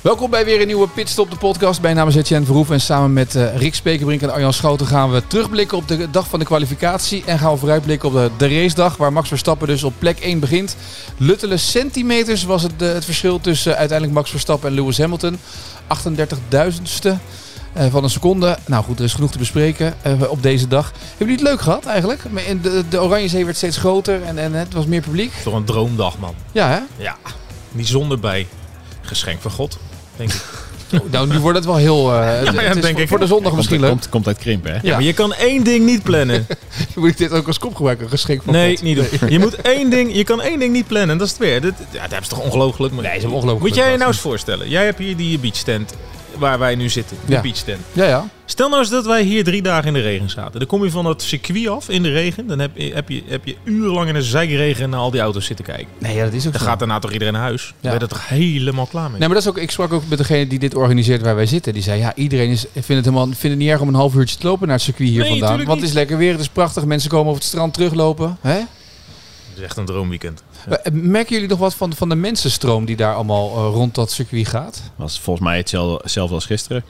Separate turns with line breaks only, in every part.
Welkom bij weer een nieuwe Pitstop, de podcast. Mijn naam is Etienne Verhoef en samen met eh, Rick Spekerbrink en Arjan Schoten gaan we terugblikken op de dag van de kwalificatie. En gaan we vooruitblikken op de, de racedag, waar Max Verstappen dus op plek 1 begint. Luttele centimeters was het, eh, het verschil tussen eh, uiteindelijk Max Verstappen en Lewis Hamilton. 38.000ste eh, van een seconde. Nou goed, er is genoeg te bespreken eh, op deze dag. Hebben jullie het leuk gehad eigenlijk? Maar in De, de Oranjezee werd steeds groter en, en het was meer publiek.
Toch een droomdag, man.
Ja hè?
Ja, niet zonder bij. Geschenk van God, denk ik.
Nou, nu wordt het wel heel... eh, het-
ja,
het is
denk
voor,
ik
voor de
ook.
zondag misschien leuk.
Komt, komt uit Krimp, hè?
Ja, maar je kan één ding niet plannen.
Moet ik dit ook als kop gebruiken? Geschikt voor
Nee,
God.
niet doen. Je moet één ding, je kan één ding niet plannen. Dat is het weer. Dit, ja, dat hebben ze toch ongelooflijk. Nee, ze
hebben ongelooflijk
Moet jij je
wat.
nou eens voorstellen? Jij hebt hier die beach tent waar wij nu zitten. De
Ja.
beach tent.
Ja, ja.
Stel nou eens dat wij hier drie dagen in de regen zaten. Dan kom je van dat circuit af in de regen. Dan heb je, heb je, heb je urenlang in de zijkregen naar al die auto's zitten kijken.
Nee, ja, dat is ook
Dan gaat daarna toch iedereen naar huis?
Ja.
Ben je er toch helemaal klaar mee?
Nee, maar dat is ook, ik sprak ook met degene die dit organiseert waar wij zitten. Die zei, ja, iedereen is, vindt, het helemaal, vindt het niet erg om een half uurtje te lopen naar het circuit hier
Nee,
vandaan.
tuurlijk
Want het is lekker weer, het is prachtig. Mensen komen over het strand teruglopen. Hè?
Het is echt een droomweekend.
Eh, Merken jullie nog wat van, van de mensenstroom die daar allemaal eh, rond dat circuit gaat?
Was volgens mij hetzelfde, hetzelfde als gisteren.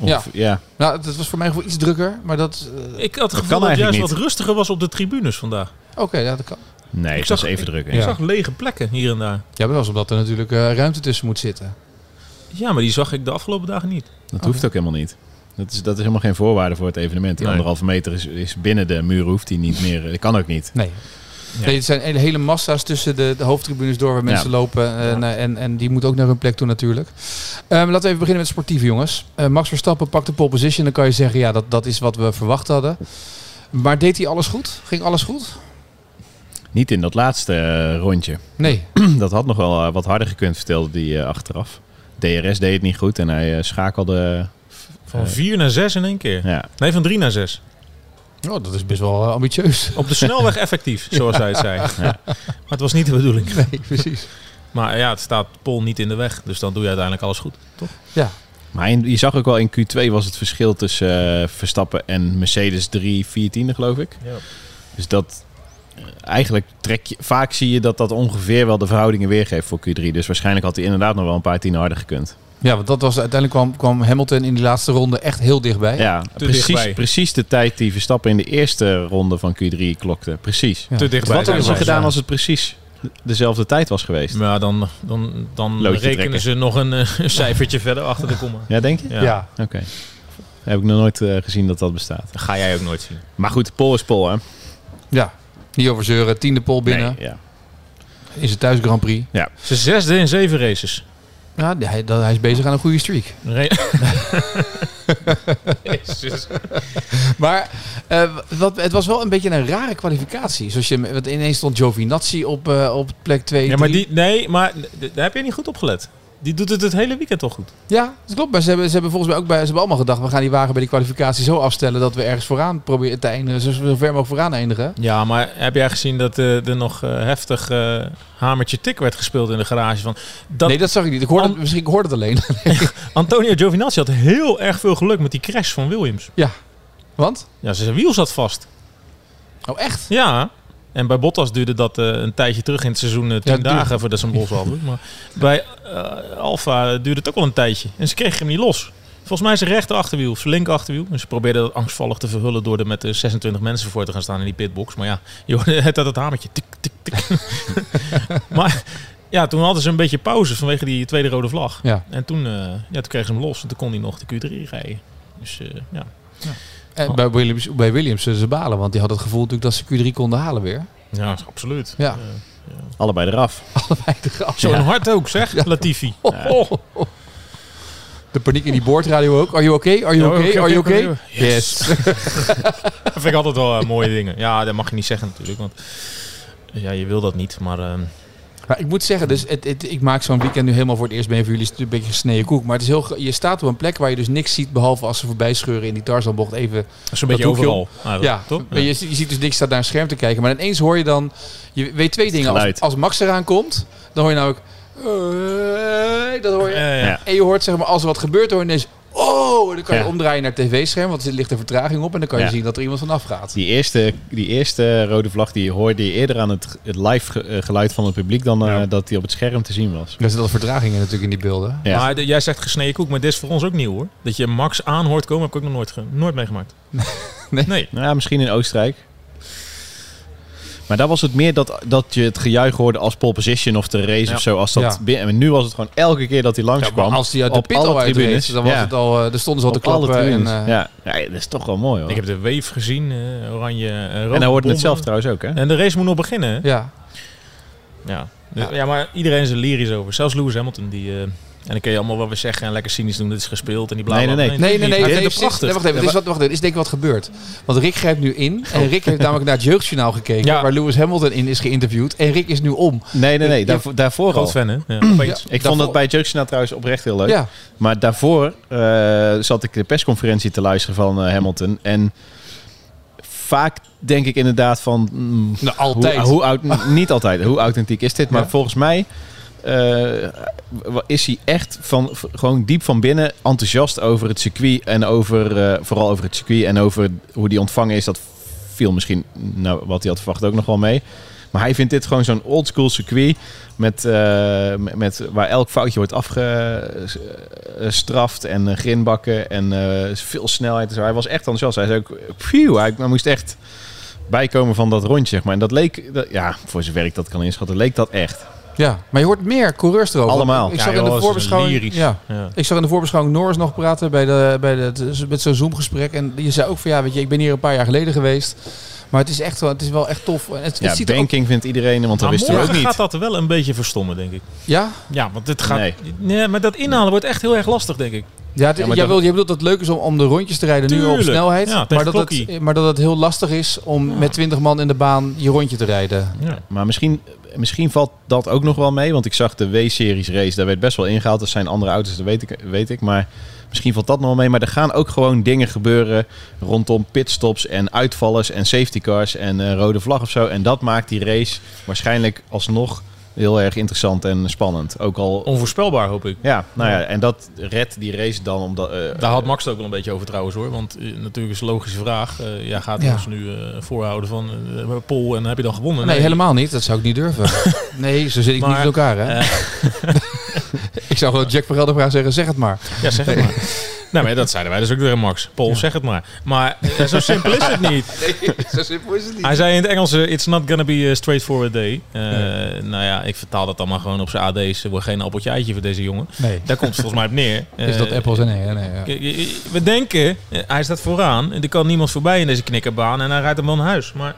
Ja.
ja.
Nou, dat was voor mij gewoon iets drukker, maar dat... eh,
Ik had het
kan
gevoel dat het juist
eigenlijk
wat rustiger was op de tribunes vandaag.
Oké, ja, dat kan.
Nee,
Ik
ik
zag-
was even druk. hè?
Ik
Ja.
zag lege plekken hier en daar.
Ja, maar dat was omdat er natuurlijk eh, ruimte tussen moet zitten.
Ja, maar die zag ik de afgelopen dagen niet.
Dat hoeft ook helemaal niet. Dat is, dat is helemaal geen voorwaarde voor het evenement. Die
Nee.
anderhalve meter is, is binnen de muren, hoeft die niet meer. Dat kan ook niet.
Nee.
Ja.
Nee, het zijn hele- hele massa's tussen de, de hoofdtribunes door waar mensen lopen. En, eh, en, en die moeten ook naar hun plek toe natuurlijk. Ehm, laten we even beginnen met sportief jongens. Eh, Max Verstappen pakt de pole position. Dan kan je zeggen, ja, dat, dat is wat we verwacht hadden. Maar deed hij alles goed? Ging alles goed?
Niet in dat laatste eh, rondje.
Nee.
dat had nog wel eh, wat harder gekund, vertelde die eh, achteraf. DRS deed het niet goed en hij eh, schakelde.
Van
Eh.
vier naar zes in één keer.
ja.
Nee, van drie naar zes.
Oh, dat is best wel eh, ambitieus.
Op de snelweg effectief, zoals hij het zei. Maar het was niet de bedoeling.
Nee, precies.
Maar ja, het staat Pol niet in de weg. Dus dan doe je uiteindelijk alles goed.
Ja.
Maar in- je zag ook wel in Q2 was het verschil tussen eh, Verstappen en Mercedes 3, 14, geloof ik.
Ja.
Dus dat eh, eigenlijk trek je, vaak zie je dat dat ongeveer wel de verhoudingen weergeeft voor Q3. Dus waarschijnlijk had hij inderdaad nog wel een paar tien harder gekund.
ja, want dat was, uiteindelijk kwam, kwam Hamilton in die laatste ronde echt heel dichtbij.
Ja, precies,
dichtbij.
precies de tijd die Verstappen in de eerste ronde van Q3 klokte. Precies.
Ja.
Te dichtbij.
Wat
zijn
hadden ze
wij.
gedaan als het precies dezelfde tijd was geweest?
Maar dan, dan, dan
Loodje
rekenen
trekken.
ze nog een eh, een cijfertje verder achter de komma.
Ja, denk je?
Ja.
ja.
Oké. Heb ik nog nooit eh, gezien dat dat bestaat.
Dat ga jij ook nooit zien.
Maar goed, Pol is Pol, hè?
Ja. Niet over zeuren. Tiende pole binnen.
Nee, ja.
Is het thuis Grand Prix.
Ze zesde in zeven races.
Ja, hij, dat, hij is bezig aan een goede streak.
Re- Jezus.
Maar eh, wat, het was wel een beetje een rare kwalificatie. Zoals je, want ineens stond Giovinazzi op, eh, op plek 2.
Ja, maar die, nee, maar d- daar heb je niet goed op gelet. Die doet het het hele weekend al goed.
ja, dat klopt. Maar ze hebben, ze hebben volgens mij ook bij, ze hebben allemaal gedacht... we gaan die wagen bij die kwalificatie zo afstellen... dat we ergens vooraan proberen te eindigen. Zo zo ver mogelijk vooraan eindigen.
Ja, maar heb jij gezien dat eh, er nog eh, heftig eh, hamertje tik werd gespeeld in de garage van... Dat
nee, dat zag ik niet. Ik hoorde, het-
An-
misschien ik hoorde het alleen.
Antonio Giovinazzi had heel erg veel geluk met die crash van Williams.
Want?
Ja, zijn wiel zat vast.
Oh, echt?
Ja, en bij Bottas duurde dat eh, een tijdje terug in het seizoen, eh, tien
het duurde-
dagen voordat ze hem los hadden. Maar bij eh, Alfa duurde het ook wel een tijdje en ze kregen hem niet los. Volgens mij zijn rechter achterwiel, zijn linker achterwiel. En ze probeerden dat angstvallig te verhullen door er met eh, 26 mensen voor te gaan staan in die pitbox. Maar ja, je hoorde het dat hamertje. Tik, tik, tik. maar ja, toen hadden ze een beetje pauze vanwege die tweede rode vlag.
Ja.
En toen, eh, ja, toen kregen ze hem los en toen kon hij nog de Q3 rijden. Dus eh, ja.
En Eh, bij Williams, bij Williams zullen ze balen. Want die had het gevoel natuurlijk dat ze Q3 konden halen weer.
ja, absoluut. Eh,
Ja.
Allebei eraf.
Allebei de gras.
Zo'n hart ook zeg, Latifi.
De paniek in die boordradio ook. Are you okay? Are you
Ja,
okay?
oké,
Are you
oké,
okay?
oké. Yes. dat vind ik altijd wel eh, mooie dingen. Ja, dat mag je niet zeggen natuurlijk. Want ja, je wil dat niet. Maar eh,
Maar ik moet zeggen, dus het, het- ik maak zo'n weekend nu helemaal voor het eerst. Ben je voor jullie natuurlijk een beetje gesneden koek. Maar het is heel, ge- je staat op een plek waar je dus niks ziet. Behalve als ze voorbij scheuren in die Tarzanbocht even.
Zo'n beetje
hoekje
overal. eigenlijk,
ja,
toch?
maar Je, zie- je ziet dus niks staat naar een scherm te kijken. Maar ineens hoor je dan. Je weet twee dingen. Als,
geluid.
als Max eraan komt, dan hoor je nou ook. "Hey", dat hoor je.
Ja, ja.
Ja.
En je hoort zeg maar, als er wat gebeurt, hoor je ineens. Oh, en dan kan je
Ja.
omdraaien naar het tv-scherm, want er ligt een vertraging op. En dan kan je
Ja.
zien dat er iemand vanaf gaat.
Die eerste, die eerste rode vlag die je hoorde je eerder aan het, het live ge- eh, geluid van het publiek dan eh,
Ja.
dat die op het scherm te zien was.
Er zitten al vertragingen natuurlijk in die beelden.
Ja.
Maar de- jij zegt gesneden koek, maar dit is voor ons ook nieuw hoor. Dat je Max aan hoort komen, heb ik ook nog nooit, ge- nooit meegemaakt.
Nee.
nee.
Nou, ja, misschien in Oostenrijk. Maar daar was het meer dat, dat je het gejuich hoorde als pole position of de race
Ja.
of zo. Als dat
Ja.
bin- en nu was het gewoon elke keer dat hij
Ja,
langskwam.
maar als die uit de
op
pit
alle
al uitreed,
tribunes.
dan was
Ja.
het al, eh, er stonden ze al te
op alle
klappen. En,
tribunes.
eh,
ja. Ja, dat is toch wel mooi hoor.
Ik heb de wave gezien, eh, oranje, eh, rode
en hij hoorde het
bommen.
zelf trouwens ook hè.
En de race moet nog beginnen. hè?
ja.
Ja.
Ja.
Ja. maar iedereen is er lyrisch over. Zelfs Lewis Hamilton. Die, eh, en dan kun je allemaal wel weer zeggen en lekker cynisch doen. Dit is gespeeld en die bla
Nee,
bla,
nee,
bla.
Nee, nee, nee.
Hij
nee,
deed het
precies.
prachtig.
Nee, wacht even.
Ja,
Dit is, wat, wacht even. Dit is denk ik wat gebeurt. Want Rick grijpt nu in. En Rick heeft namelijk naar het jeugdjournaal gekeken.
Ja.
Waar Lewis Hamilton in is geïnterviewd. En Rick is nu om.
Nee, nee, nee.
Ja.
Daarvoor, daarvoor al.
Groot fan, hè? Ja. Opeens.
Ik
Daarvoor-
vond dat bij Jokesena trouwens oprecht heel leuk.
Ja.
Maar daarvoor eh, zat ik de persconferentie te luisteren van eh, Hamilton. En vaak denk ik inderdaad van... mm,
Nou, altijd.
Hoe, hoe aut- niet altijd. Hoe authentiek is dit? Maar
Ja.
volgens mij eh, wa- is hij echt van, v- gewoon diep van binnen enthousiast over het circuit. En over, eh, vooral over het circuit en over hoe die ontvangen is. Dat viel misschien, nou, wat hij had verwacht, ook nog wel mee. Maar hij vindt dit gewoon zo'n oldschool circuit. Met, eh, met, met- waar elk foutje wordt afgestraft. En eh, grindbakken en eh, veel snelheid. en zo. hij was echt enthousiast. Hij, zei ook, phew, hij, hij moest echt bijkomen van dat rondje, zeg maar. En dat leek, dat- ja, voor zover ik dat kan inschatten, leek dat echt.
Ja. Maar je hoort meer coureurs erover.
Allemaal.
Ik
Ja,
zag
joh,
in
dat
de
is
voorbeschouwing...
lyrisch.
Ja.
Ja.
Ik zag in de voorbeschouwing Norris nog praten bij de, bij de, met zo'n Zoom-gesprek. En je zei ook van ja, weet je, ik ben hier een paar jaar geleden geweest. Maar het is echt wel, het is wel echt tof. En het, het
Ja,
ziet er ook...
banking vindt iedereen, want dat
Maar
wist hij ook
Nou, morgen
niet.
gaat dat wel een beetje verstommen, denk ik.
Ja?
Ja, want dit gaat...
Nee.
Nee. maar dat inhalen wordt echt heel erg lastig, denk ik.
Ja, het-
Ja, maar
jij
dat-
wil, je bedoelt dat het leuk is om, om de rondjes te rijden nu op
Tuurlijk.
snelheid.
Ja, tegen
maar, dat het,
klokkie.
maar dat het heel lastig is om met 20 man in de baan je rondje te rijden.
Ja.
Maar misschien, misschien valt dat ook nog wel mee, want ik zag de W-series race, daar werd best wel ingehaald. Dat zijn andere auto's, dat weet ik, weet ik. Maar misschien valt dat nog wel mee. Maar er gaan ook gewoon dingen gebeuren rondom pitstops en uitvallers en safety cars en eh, rode vlag of zo. En dat maakt die race waarschijnlijk alsnog heel erg interessant en spannend. Ook al...
Onvoorspelbaar, hoop ik.
Ja, nou ja, en dat redt die race dan omdat... eh,
Daar had Max het ook wel een beetje over trouwens hoor. Want eh, natuurlijk is een logische vraag. eh ja, gaat hij
Ja.
ons nu eh, voorhouden van eh Pol en heb je dan gewonnen?
Nee, helemaal niet. Dat zou ik niet durven. nee, zo zit ik niet
Maar,
in elkaar. Hè?
eh,
ik zou gewoon Jack Verhelder vragen zeggen, zeg het maar.
Ja, zeg het maar. nou, maar dat zeiden wij dus ook weer aan Max. Pol, zeg het maar. Maar eh, zo simpel is het niet.
zo simpel is het niet.
Hij zei in het Engels, eh, it's not gonna be a straightforward day. Eh, Nou ja, ik vertaal dat allemaal gewoon op zijn AD's. Er wordt geen appeltje eitje voor deze jongen.
Nee,
Daar komt het volgens mij op neer.
is dat
Eh,
Apples en nee, nee, ja.
k- k- We denken, eh, hij staat vooraan. Er kan niemand voorbij in deze knikkerbaan. En hij rijdt hem wel naar huis. Maar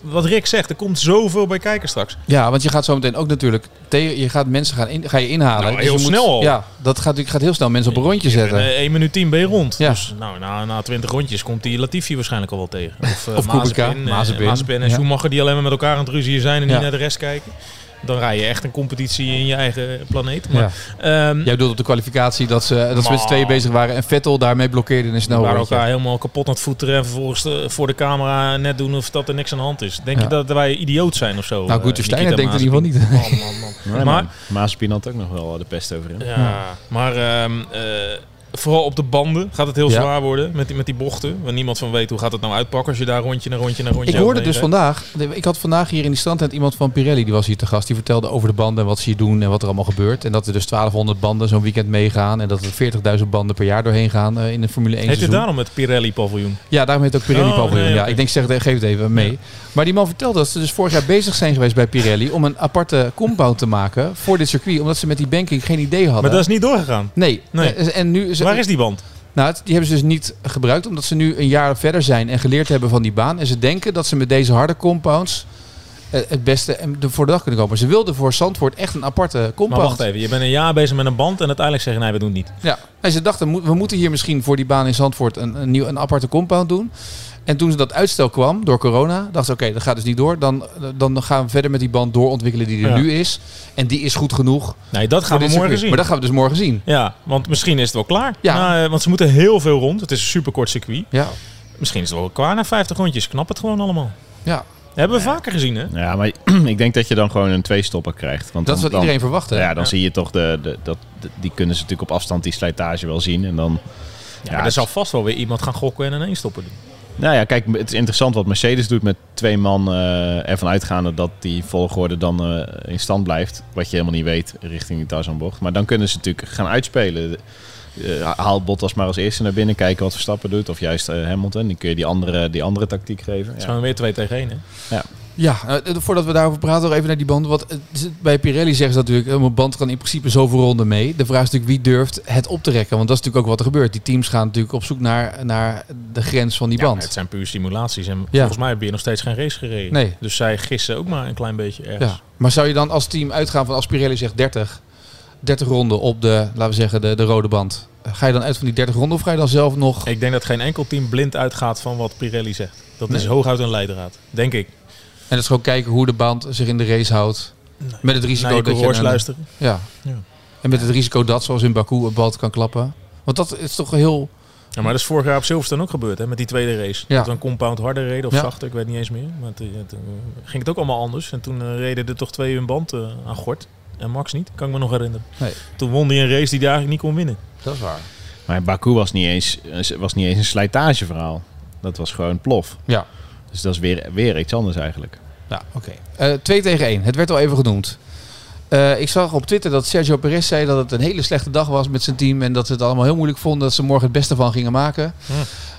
wat Rick zegt, er komt zoveel bij kijken straks.
ja, want je gaat zo meteen ook natuurlijk... tegen- je gaat mensen gaan in, ga je inhalen.
Nou,
Dus
heel
je moet-
snel al.
Ja, dat gaat, je gaat heel snel mensen op een rondje
Eh,
zetten.
1 minuut 10 ben je rond.
Ja.
Dus nou, na, na 20 rondjes komt die Latifi waarschijnlijk al wel tegen. Of, eh,
Of Kubica,
Mazepin, eh,
Mazepin.
Mazepin en
Ja.
Schumacher die alleen maar met elkaar aan het ruzieën zijn en
Ja.
niet naar de rest kijken. Dan rij je echt een competitie in je eigen planeet.
Ja.
Maar, ehm,
Jij bedoelt op de kwalificatie dat ze, dat ze met z'n tweeën
Maar-
bezig waren en Vettel daarmee blokkeerde in een
we
snel
waren
rondje.
elkaar helemaal kapot aan het voeteren en vervolgens eh, voor de camera net doen of dat er niks aan de hand is. Denk
Ja.
je dat wij idioot zijn of zo?
Nou,
eh,
Gunther Steiner
Nikita
denkt in ieder geval
Mazepin? Man, man, man.
Nee,
Maar-
maar Mazepin had ook nog wel de pest over hem.
Ja, maar ehm, eh, vooral op de banden gaat het heel
Ja.
zwaar worden met die, met die bochten. Waar niemand van weet hoe gaat het nou uitpakken als je daar rondje naar rondje naar rondje
Ik hoorde dus
overheen
vandaag, ik had vandaag hier in die strandtent iemand van Pirelli, die was hier te gast. Die vertelde over de banden en wat ze hier doen en wat er allemaal gebeurt. En dat er dus 1200 banden zo'n weekend meegaan. En dat er 40.000 banden per jaar doorheen gaan eh, in de Formule 1
rijdt. Heet het
seizoen.
daarom het Pirelli-paviljoen?
Ja, daarom heet het ook Pirelli
Oh,
paviljoen.
nee,
ja,
oké.
ik denk, zeg, het- eh, geef het even mee.
Ja.
Maar die man vertelde dat ze dus vorig jaar bezig zijn geweest bij Pirelli om een aparte compound te maken voor dit circuit. Omdat ze met die banking geen idee hadden.
Maar dat is niet doorgegaan.
Nee. Eh,
Nee.
En, en nu ze-
Waar is die band?
Nou, het- die hebben ze dus niet gebruikt, omdat ze nu een jaar verder zijn en geleerd hebben van die baan. En ze denken dat ze met deze harde compounds eh, het beste en de, voor de dag kunnen komen. Ze wilden voor Zandvoort echt een aparte
Maar
compound.
wacht even, je bent een jaar bezig met een band en uiteindelijk zeggen nee, we doen het niet.
Ja, en ze dachten, mo- we moeten hier misschien voor die baan in Zandvoort een, een, nieuw, een aparte compound doen. En toen ze dat uitstel kwam door corona, dachten ze, oké, dat gaat dus niet door. Dan, dan gaan we verder met die band doorontwikkelen die er
Ja.
nu is. En die is goed genoeg. voor
Nee, dat gaan
dit
we morgen
circuit.
zien.
Maar dat gaan we dus morgen zien.
Ja, want misschien is het wel klaar.
Ja.
Nou, eh, want ze moeten heel veel rond. Het is een superkort circuit.
Ja,
Misschien is het wel klaar na 50 rondjes. Knap het gewoon allemaal.
ja.
Dat hebben we vaker gezien, hè?
Ja, maar ik denk dat je dan gewoon een twee-stopper krijgt. Want
dat is
dan,
wat iedereen verwacht. hè?
dan, Ja, dan zie je toch de, de, dat, de- die kunnen ze natuurlijk op afstand die slijtage wel zien. En dan,
Ja, maar er
het-
zal vast wel weer iemand gaan gokken en ineens stoppen doen.
Nou ja, kijk, het is interessant wat Mercedes doet met twee man. eh, ervan uitgaande dat die volgorde dan eh, in stand blijft. Wat je helemaal niet weet richting die Tarzanbocht. Maar dan kunnen ze natuurlijk gaan uitspelen. Eh haal Bottas maar als eerste naar binnen. Kijken wat Verstappen doet. Of juist eh, Hamilton. Dan kun je die andere, die andere tactiek geven.
Het is
Ja.
gewoon weer twee tegen één, hè?
Ja, eh, voordat we daarover praten, nog even naar die band. Want eh, z- bij Pirelli zeggen ze natuurlijk, eh, mijn band kan in principe zoveel ronden mee. De vraag is natuurlijk, wie durft het op te rekken? Want dat is natuurlijk ook wat er gebeurt. Die teams gaan natuurlijk op zoek naar, naar de grens van die
Ja, maar
band.
het zijn puur simulaties. En volgens mij heb je nog steeds geen race gereden.
Nee.
Dus zij gissen ook maar een klein beetje ergens.
Ja. Maar zou je dan als team uitgaan van als Pirelli zegt 30, 30 ronden op de, laten we zeggen, de, de rode band. Eh, Ga je dan uit van die 30 ronden of ga je dan zelf nog...
Ik denk dat geen enkel team blind uitgaat van wat Pirelli zegt. Dat is hooguit een leidraad, denk ik.
En dat is gewoon kijken hoe de band zich in de race houdt. Met het risico
Naar je
dat je...
coureurs
een-
luisteren.
Ja.
Ja.
En met het risico dat, zoals in Baku, een band kan klappen. Want dat is toch heel...
Ja, maar dat is vorig jaar op Silverstone ook gebeurd, hè? Met die tweede race.
Ja.
Dat we een compound harder reden of
Ja.
zachter, ik weet niet eens meer. Maar toen, ja, toen ging het ook allemaal anders. En toen eh, reden er toch twee hun band eh, aan gort. En Max niet, kan ik me nog herinneren.
Nee.
Toen won hij een race die hij eigenlijk niet kon winnen.
Dat is waar.
Maar Baku was niet, eens, was niet eens een slijtageverhaal. Dat was gewoon plof.
Ja.
Dus dat is weer, weer iets anders eigenlijk.
Ja, oké. Eh, Twee tegen één. Het werd al even genoemd. Eh, ik zag op Twitter dat Sergio Perez zei dat het een hele slechte dag was met zijn team. En dat ze het allemaal heel moeilijk vonden dat ze morgen het beste van gingen maken.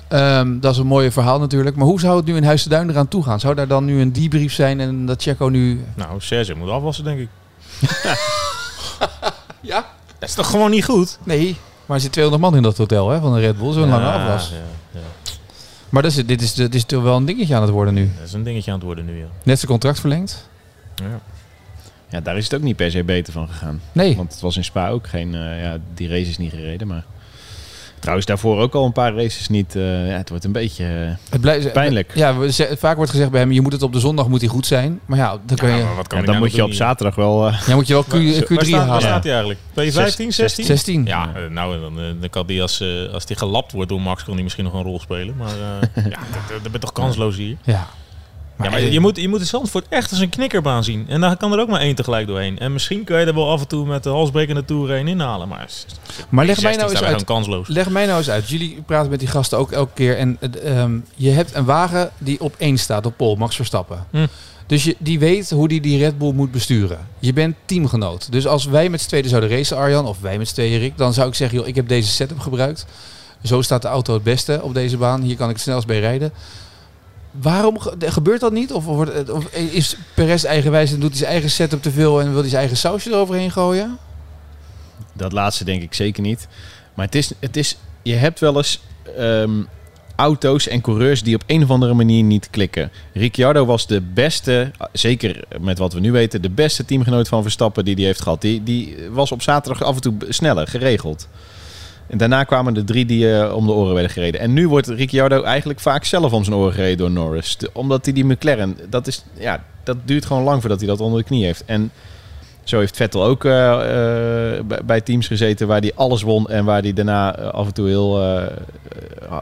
Ehm, dat is een mooi verhaal natuurlijk. Maar hoe zou het nu in Huis de Duin eraan toe gaan? Zou daar dan nu een debrief zijn en dat Checo nu...
Nou, Sergio moet afwassen, denk ik.
Ja?
Dat is toch gewoon niet goed?
Nee. Maar er zit 200 man in dat hotel hè, van de Red Bull. Zo'n lange
Ja,
afwas.
ja, ja.
Maar dat is, dit, is, dit is toch wel een dingetje aan het worden nu.
Dat is een dingetje aan het worden nu, ja.
Net zijn contract verlengd?
ja.
Ja, daar is het ook niet per se beter van gegaan.
Nee.
Want het was in Spa ook geen... eh, ja, die race is niet gereden, maar... Trouwens, daarvoor ook al een paar races niet. eh, ja, het wordt een beetje... eh,
Het blijft,
Pijnlijk.
Ja, we ze- vaak wordt gezegd bij hem, je moet het op de zondag moet hij goed zijn. Maar ja, dan kun je...
maar wat kan hij
ja, dan
nou
moet
nog
je
doen
op
hier?
zaterdag wel... eh,
Ja, moet je wel Q,
Waar-
Q3
waar staat- Waar
halen.
staat hij eigenlijk? 2015, 16?
16.
Ja, eh, nou, dan, eh, dan kan die als, eh, als die gelapt wordt door Max, kon die misschien nog een rol spelen. Maar eh, ja, dat- dat- dat ben toch kansloos hier.
Ja.
Ja,
eh,
maar je moet, je moet de Zandvoort echt als een knikkerbaan zien. En daar kan er ook maar één tegelijk doorheen. En misschien kan je er wel af en toe met de halsbrekende toer een inhalen. Maar s-
maar leg,
16
mij nou
is
eens
daar
uit,
gewoon kansloos.
leg mij nou eens uit. Jullie praten met die gasten ook elke keer. En eh, ehm, je hebt een wagen die op één staat op pol, Max Verstappen.
Hm.
Dus je, die weet hoe die die Red Bull moet besturen. Je bent teamgenoot. Dus als wij met z'n tweeën zouden racen, Arjan, of wij met z'n tweeën, Rick, dan zou ik zeggen, joh, ik heb deze setup gebruikt. Zo staat de auto het beste op deze baan. Hier kan ik het snelst bij rijden. Waarom ge- gebeurt dat niet? Of, wordt het- of is Perez eigenwijs en doet hij zijn eigen setup te veel en wil hij zijn eigen sausje eroverheen gooien?
Dat laatste denk ik zeker niet. Maar het is, het is, je hebt wel eens ehm, auto's en coureurs die op een of andere manier niet klikken. Ricciardo was de beste, zeker met wat we nu weten, de beste teamgenoot van Verstappen die hij heeft gehad. Die, die was op zaterdag af en toe sneller, geregeld. En daarna kwamen de drie die eh, om de oren werden gereden. En nu wordt Ricciardo eigenlijk vaak zelf om zijn oren gereden door Norris. De- omdat hij die McLaren, dat, is, ja, dat duurt gewoon lang voordat hij dat onder de knie heeft. En zo heeft Vettel ook eh, eh, bij- bij teams gezeten waar hij alles won en waar hij daarna eh, af en toe heel. eh, eh,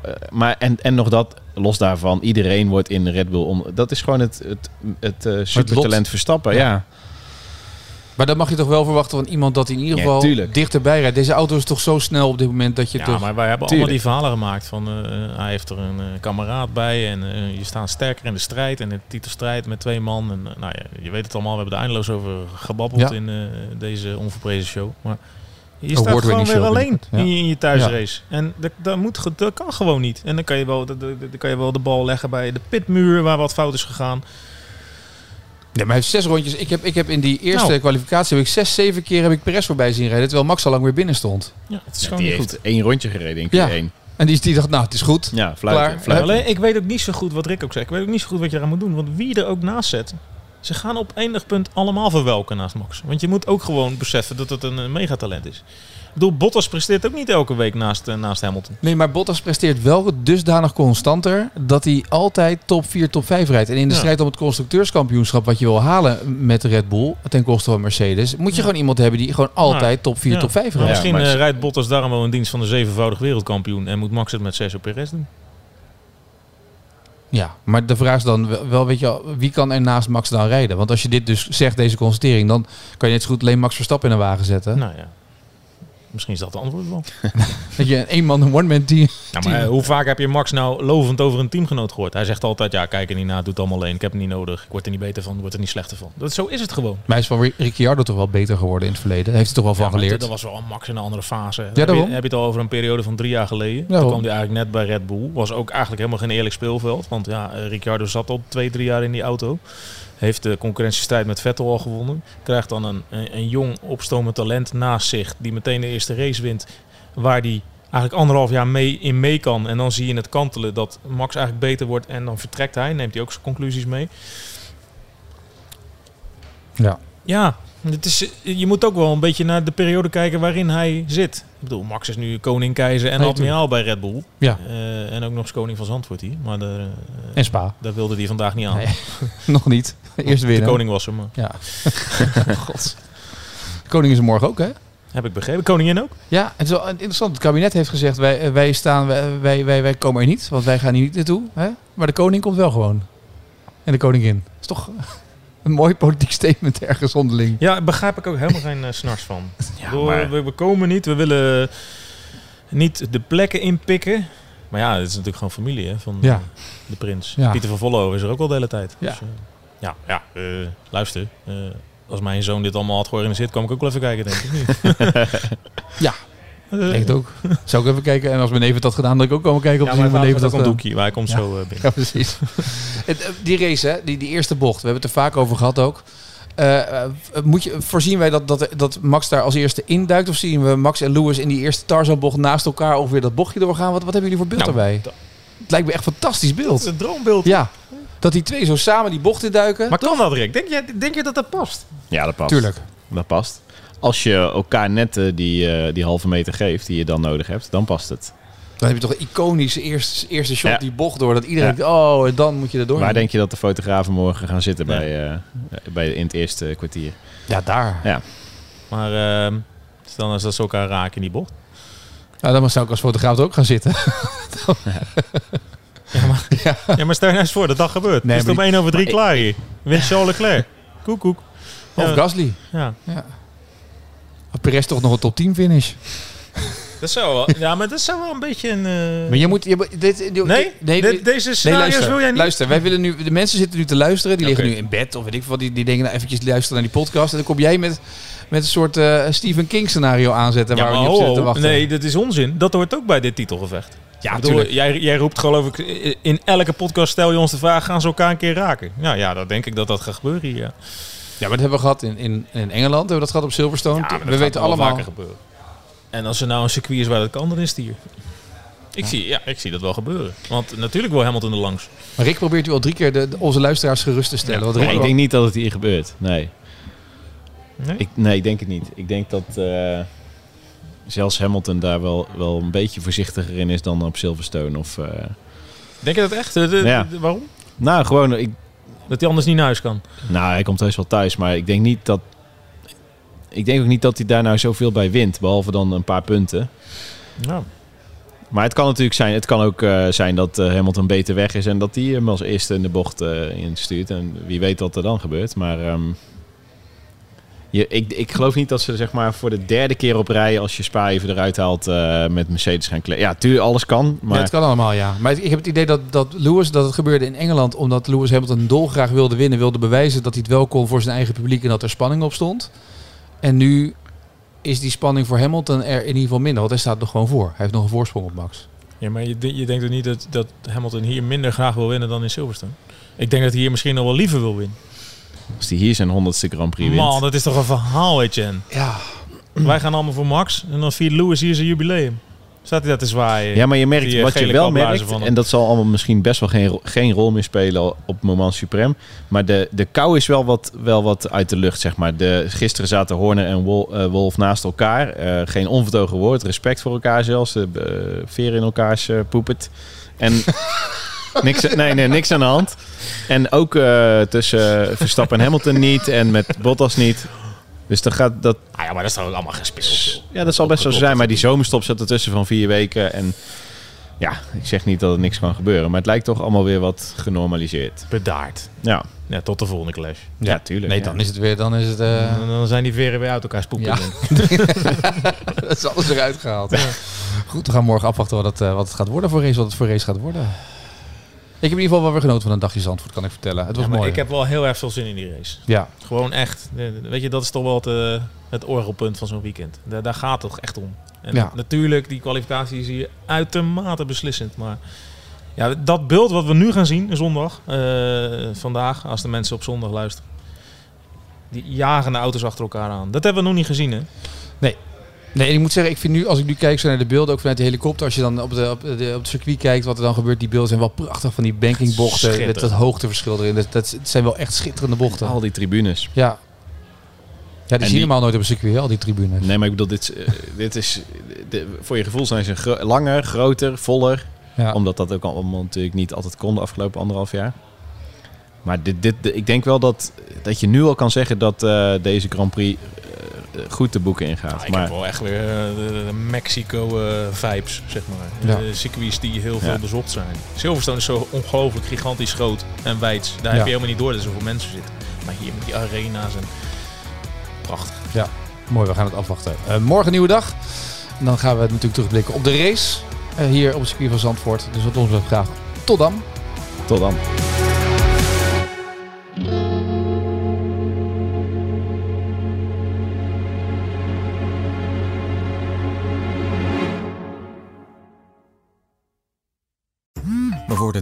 eh, maar en, en nog dat, los daarvan, iedereen wordt in Red Bull. Om, dat is gewoon het, het, het eh, supertalent verstappen. Ja.
Maar dan mag je toch wel verwachten van iemand dat in ieder
Ja,
geval
tuurlijk.
dichterbij rijdt. Deze auto is toch zo snel op dit moment dat je
Ja,
toch...
maar wij hebben
Tuurlijk.
allemaal die verhalen gemaakt van eh, hij heeft er een eh, kameraad bij en eh, je staat sterker in de strijd en de titelstrijd met twee man. En eh, nou ja, je weet het allemaal, we hebben er eindeloos over gebabbeld
Ja.
in eh, deze onverprezen show. Maar je
Oh,
Een
staat gewoon
award-winning
weer
show
alleen
binnenkort, ja.
in, je, in je thuisrace. En dat, dat, moet, ge- dat kan gewoon niet. En dan kan, je wel, dat, dat- dat kan je wel de bal leggen bij de pitmuur waar wat fout is gegaan.
Nee, maar hij heeft zes rondjes. Ik heb, ik heb in die eerste
Nou.
kwalificatie heb ik zes, zeven keer heb ik Perez voorbij zien rijden. Terwijl Max al lang weer binnen stond.
Ja, het is
Ja,
gewoon
die
niet
heeft
goed.
één rondje gereden in Q1.
Ja.
Ja,
En die, die dacht, nou, het is goed.
fluiten.
Klaar.
fluiten.
Alleen, ik weet ook niet zo goed wat Rick ook zegt. Ik weet ook niet zo goed wat je eraan moet doen. Want wie er ook naast zet, Ze gaan op enig punt allemaal verwelken naast Max. Want je moet ook gewoon beseffen dat het een eh, megatalent is. Ik bedoel, Bottas presteert ook niet elke week naast, eh, naast Hamilton.
Nee, maar Bottas presteert wel dusdanig constanter dat hij altijd top 4, top 5 rijdt. En in de
Ja.
strijd om het constructeurskampioenschap wat je wil halen met Red Bull ten koste van Mercedes, moet je
Ja.
gewoon iemand hebben die gewoon altijd top 4,
Ja.
top 5
Maar
rijdt.
misschien
maar
eh,
ze-
rijdt Bottas daarom wel in dienst van de zevenvoudig wereldkampioen. En moet Max het met Sergio Perez doen.
Ja, maar de vraag is dan wel- wel, weet je wel, wie kan er naast Max dan rijden? Want als je dit dus zegt, deze constatering, dan kan je net zo goed alleen Max Verstappen in een wagen zetten.
Nou ja. Misschien is dat de antwoord wel.
Dat je een eenman, een one-man team...
Ja, maar eh, hoe vaak heb je Max nou lovend over een teamgenoot gehoord? Hij zegt altijd, ja, kijk er niet naar, doet allemaal alleen. Ik heb het niet nodig. Ik word er niet beter van, ik word er niet slechter van. Dat, zo is het gewoon.
Maar hij is van Ri- Ricciardo toch wel beter geworden in het verleden? Daar heeft hij toch wel van
Ja, maar
geleerd?
Dat was wel Max in een andere fase. Dan heb,
daarom.
je, heb je het al over een periode van drie jaar geleden. Toen
Daarom.
kwam hij eigenlijk net bij Red Bull. Was ook eigenlijk helemaal geen eerlijk speelveld. Want ja, eh, Ricciardo zat al twee, drie jaar in die auto. Heeft de concurrentiestrijd met Vettel al gewonnen. Krijgt dan een, een, een jong opstomend talent naast zich. Die meteen de eerste race wint. Waar hij eigenlijk anderhalf jaar mee in mee kan. En dan zie je in het kantelen dat Max eigenlijk beter wordt. En dan vertrekt hij. Neemt hij ook zijn conclusies mee.
Ja.
Ja, het is, je moet ook wel een beetje naar de periode kijken waarin hij zit. Ik bedoel, Max is nu koning, keizer en
Nee,
admiraal bij Red Bull.
Ja.
Eh, en ook nog eens koning van Zandvoort hier. Maar daar, eh,
En Spa.
daar wilde hij vandaag niet aan.
Nee, Nog niet. Eerst
de
winnen.
koning was hem, maar
Ja. God. De koning is er morgen ook, hè?
heb ik begrepen. Koningin ook?
Ja, het is wel interessant. Het kabinet heeft gezegd, wij, eh, wij, staan, wij, wij, wij, wij komen er niet, want wij gaan hier niet naartoe. Hè? Maar de koning komt wel gewoon. En de koningin. Dat is toch een mooi politiek statement ergens onderling.
Ja, daar begrijp ik ook helemaal geen eh, snars van. Ik bedoel,
maar-
we, we komen niet, we willen niet de plekken inpikken. Maar ja, het is natuurlijk gewoon familie hè, van
Ja.
eh, de prins.
Ja.
Pieter van Vollo is er ook al de hele tijd.
Ja.
eh, ja, ja eh, luister. eh, als mijn zoon dit allemaal had georganiseerd, kwam ik ook wel even kijken, denk ik. of niet?
Ja.
Eh,
Ik denk het ook. Zou ik even kijken. En als mijn neef het had gedaan, dan ik ook komen kijken. Op
ja,
de
maar
zin van
mijn
mijn
neef
neef
ook een
dat
doekje, maar hij komt
Ja.
zo eh, binnen.
Ja, precies. Het, eh, die race, hè, die, die eerste bocht, we hebben het er vaak over gehad ook. Eh, eh, moet je, voorzien wij dat, dat, dat Max daar als eerste induikt? Of zien we Max en Lewis in die eerste Tarzanbocht naast elkaar ongeveer dat bochtje doorgaan? Wat, wat hebben jullie voor beeld
Nou,
daarbij?
dat-
Het lijkt me echt een fantastisch
Dat is
beeld.
een droombeeld.
Ja, dat die twee zo samen die bocht induiken.
Maar kan dat, Rick? Denk je, denk je dat dat past?
Ja, dat past.
Tuurlijk.
Dat past. Als je elkaar net eh, die, eh, die halve meter geeft die je dan nodig hebt, dan past het.
Dan heb je toch een iconische eerste, eerste shot
Ja.
die bocht door. Dat iedereen
Ja.
denkt, oh, en dan moet je er door.
Waar denk je dat de fotografen morgen gaan zitten
Ja.
bij, eh, bij, in het eerste kwartier?
Ja, daar.
Ja.
Maar ehm, stel nou eens dat ze elkaar raken in die bocht.
Nou, dan zou ik als fotograaf er ook gaan zitten.
Ja, maar stel je nou eens voor dat dat gebeurt.
Nee,
is het
maar
om 1 over 3
maar
klaar hier? Wint Charles Leclerc. Koek, koek.
Of
Ja.
Gasly.
Ja.
Of Perez toch nog een top 10 finish.
Dat zou wel, ja, maar dat zou wel een beetje een... eh,
Maar je moet... Je, moet- dit, dit-
nee?
nee,
De- deze scenario's wil jij niet?
Luister, wij willen nu, de mensen zitten nu te luisteren. Die liggen
Oké.
nu in bed of weet ik wat. Die, die denken, nou eventjes luisteren naar die podcast. En dan kom jij met, met een soort eh, Stephen King scenario aanzetten.
Ja,
waar we
maar
niet op
ho,
zitten te
ho.
wachten.
nee, dat is onzin. Dat hoort ook bij dit titelgevecht.
ja,
Ik bedoel,
natuurlijk.
jij, jij roept geloof ik eh, in elke podcast stel je ons de vraag, gaan ze elkaar een keer raken? Nou ja, dat denk ik dat dat gaat gebeuren hier. Ja.
Ja, maar dat hebben we gehad in, in, in Engeland. Hebben we dat gehad op Silverstone.
Ja, maar dat
we
gaat
weten
wel
allemaal...
vaker gebeuren. En als er nou een circuit is waar dat kan, dan is het hier. Ik, Zie, ja, ik zie dat wel gebeuren. Want natuurlijk wil Hamilton er langs.
Maar Rick probeert u al drie keer de, de- onze luisteraars gerust te stellen. want
Nee,
Rick
ik
wil-
denk niet dat het hier gebeurt. Nee.
Nee?
Ik, nee, ik denk het niet. Ik denk dat eh, zelfs Hamilton daar wel, wel een beetje voorzichtiger in is dan op Silverstone. Of, eh,
Denk je dat echt? De- de-
Ja.
de- waarom?
nou, gewoon, ik,
Dat hij anders niet naar huis kan.
nou, hij komt heus wel thuis, maar ik denk niet dat. Ik denk ook niet dat hij daar nou zoveel bij wint, behalve dan een paar punten.
Ja.
Maar het kan natuurlijk zijn, het kan ook eh, zijn dat eh, Hamilton beter weg is en dat hij hem als eerste in de bocht eh, instuurt. En wie weet wat er dan gebeurt. Maar ehm, je, ik, ik geloof niet dat ze zeg maar, voor de derde keer op rij, als je Spa even eruit haalt, eh, met Mercedes gaan kleden. Ja, tuurlijk, alles kan. Maar
Ja, het kan allemaal, ja. Maar ik heb het idee dat, dat Lewis, dat het gebeurde in Engeland, omdat Lewis Hamilton dolgraag wilde winnen, wilde bewijzen dat hij het wel kon voor zijn eigen publiek en dat er spanning op stond. En nu is die spanning voor Hamilton er in ieder geval minder, want hij staat nog gewoon voor. Hij heeft nog een voorsprong op Max.
Ja, maar je, de- je denkt toch niet dat, dat Hamilton hier minder graag wil winnen dan in Silverstone? Ik denk dat hij hier misschien nog wel liever wil winnen.
als hij hier zijn honderdste Grand Prix wint.
Man, dat is toch een verhaal, Etienne.
Ja,
Wij gaan allemaal voor Max en dan viert Lewis hier zijn jubileum. Staat hij dat te zwaaien?
Ja, maar je merkt
Die, eh,
wat je
gele
wel
klapblazen
merkt,
van hem.
en dat zal allemaal misschien best wel geen, ro- geen rol meer spelen op het moment suprem. Maar de, de kou is wel wat, wel wat uit de lucht, zeg maar. De, gisteren zaten Horner en Wol- eh, Wolf naast elkaar. Eh, geen onvertogen woord, respect voor elkaar zelfs. De eh, veren in elkaars eh poepet. En niks, nee, nee, niks aan de hand. En ook eh, tussen eh, Verstappen en Hamilton niet en met Bottas niet. Dus dan gaat dat
Ah ja, maar dat is toch ook allemaal gespeeld.
ja, dat zal best wel zo zijn. Maar die zomerstop zat ertussen van vier weken. En ja, ik zeg niet dat er niks kan gebeuren. Maar het lijkt toch allemaal weer wat genormaliseerd.
Bedaard.
Ja,
Ja, tot de volgende clash.
ja, tuurlijk.
Nee,
ja.
dan is het weer, dan is het... eh,
En dan zijn die veren weer uit elkaar spoeken.
Ja. dat is alles eruit gehaald. Goed, we gaan morgen afwachten wat het, eh, wat het gaat worden voor race, wat het voor race gaat worden. Ik heb in ieder geval wel weer genoten van een dagje Zandvoort, kan ik vertellen. Het was
Ja, maar
mooi.
ik heb wel heel erg veel zin in die race.
Ja,
Gewoon echt. Weet je, dat is toch wel het, eh, het orgelpunt van zo'n weekend. Daar, daar gaat het toch echt om. En
Ja.
natuurlijk, die kwalificatie is hier uitermate beslissend. Maar ja, dat beeld wat we nu gaan zien, zondag, eh, vandaag, als de mensen op zondag luisteren. Die jagende auto's achter elkaar aan. Dat hebben we nog niet gezien, hè?
Nee, en ik moet zeggen, ik vind nu, als ik nu kijk zo naar de beelden, ook vanuit de helikopter, als je dan op, de, op, de, op het circuit kijkt wat er dan gebeurt, die beelden zijn wel prachtig van die bankingbochten, met
Schitterend.
dat hoogteverschil erin. Dat, dat zijn wel echt schitterende bochten.
Al die tribunes.
Ja. Ja, die zie je
die-
helemaal nooit op een circuit, hè, al die tribunes.
Nee, maar ik bedoel, dit, is, eh, dit is... de- voor je gevoel zijn ze gro- langer, groter, voller.
Ja.
Omdat dat ook allemaal natuurlijk niet altijd kon de afgelopen anderhalf jaar. Maar dit, dit, de- ik denk wel dat, dat je nu al kan zeggen dat eh, deze Grand Prix eh, goed de boeken ingaat.
Nou, ik
maar
heb wel echt weer eh, de, de Mexico-vibes, zeg maar.
Ja.
Eh, circuits die heel veel
Ja.
bezocht zijn. Silverstone is zo ongelooflijk gigantisch groot en wijd. Daar
Ja.
heb je helemaal niet door dat er zoveel mensen zitten. Maar hier met die arena's en... Prachtig.
Mooi, we gaan het afwachten. Eh, morgen nieuwe dag. En dan gaan we natuurlijk terugblikken op de race eh, hier op het circuit van Zandvoort. Dus wat ons betreft graag tot dan.
tot dan.
We worden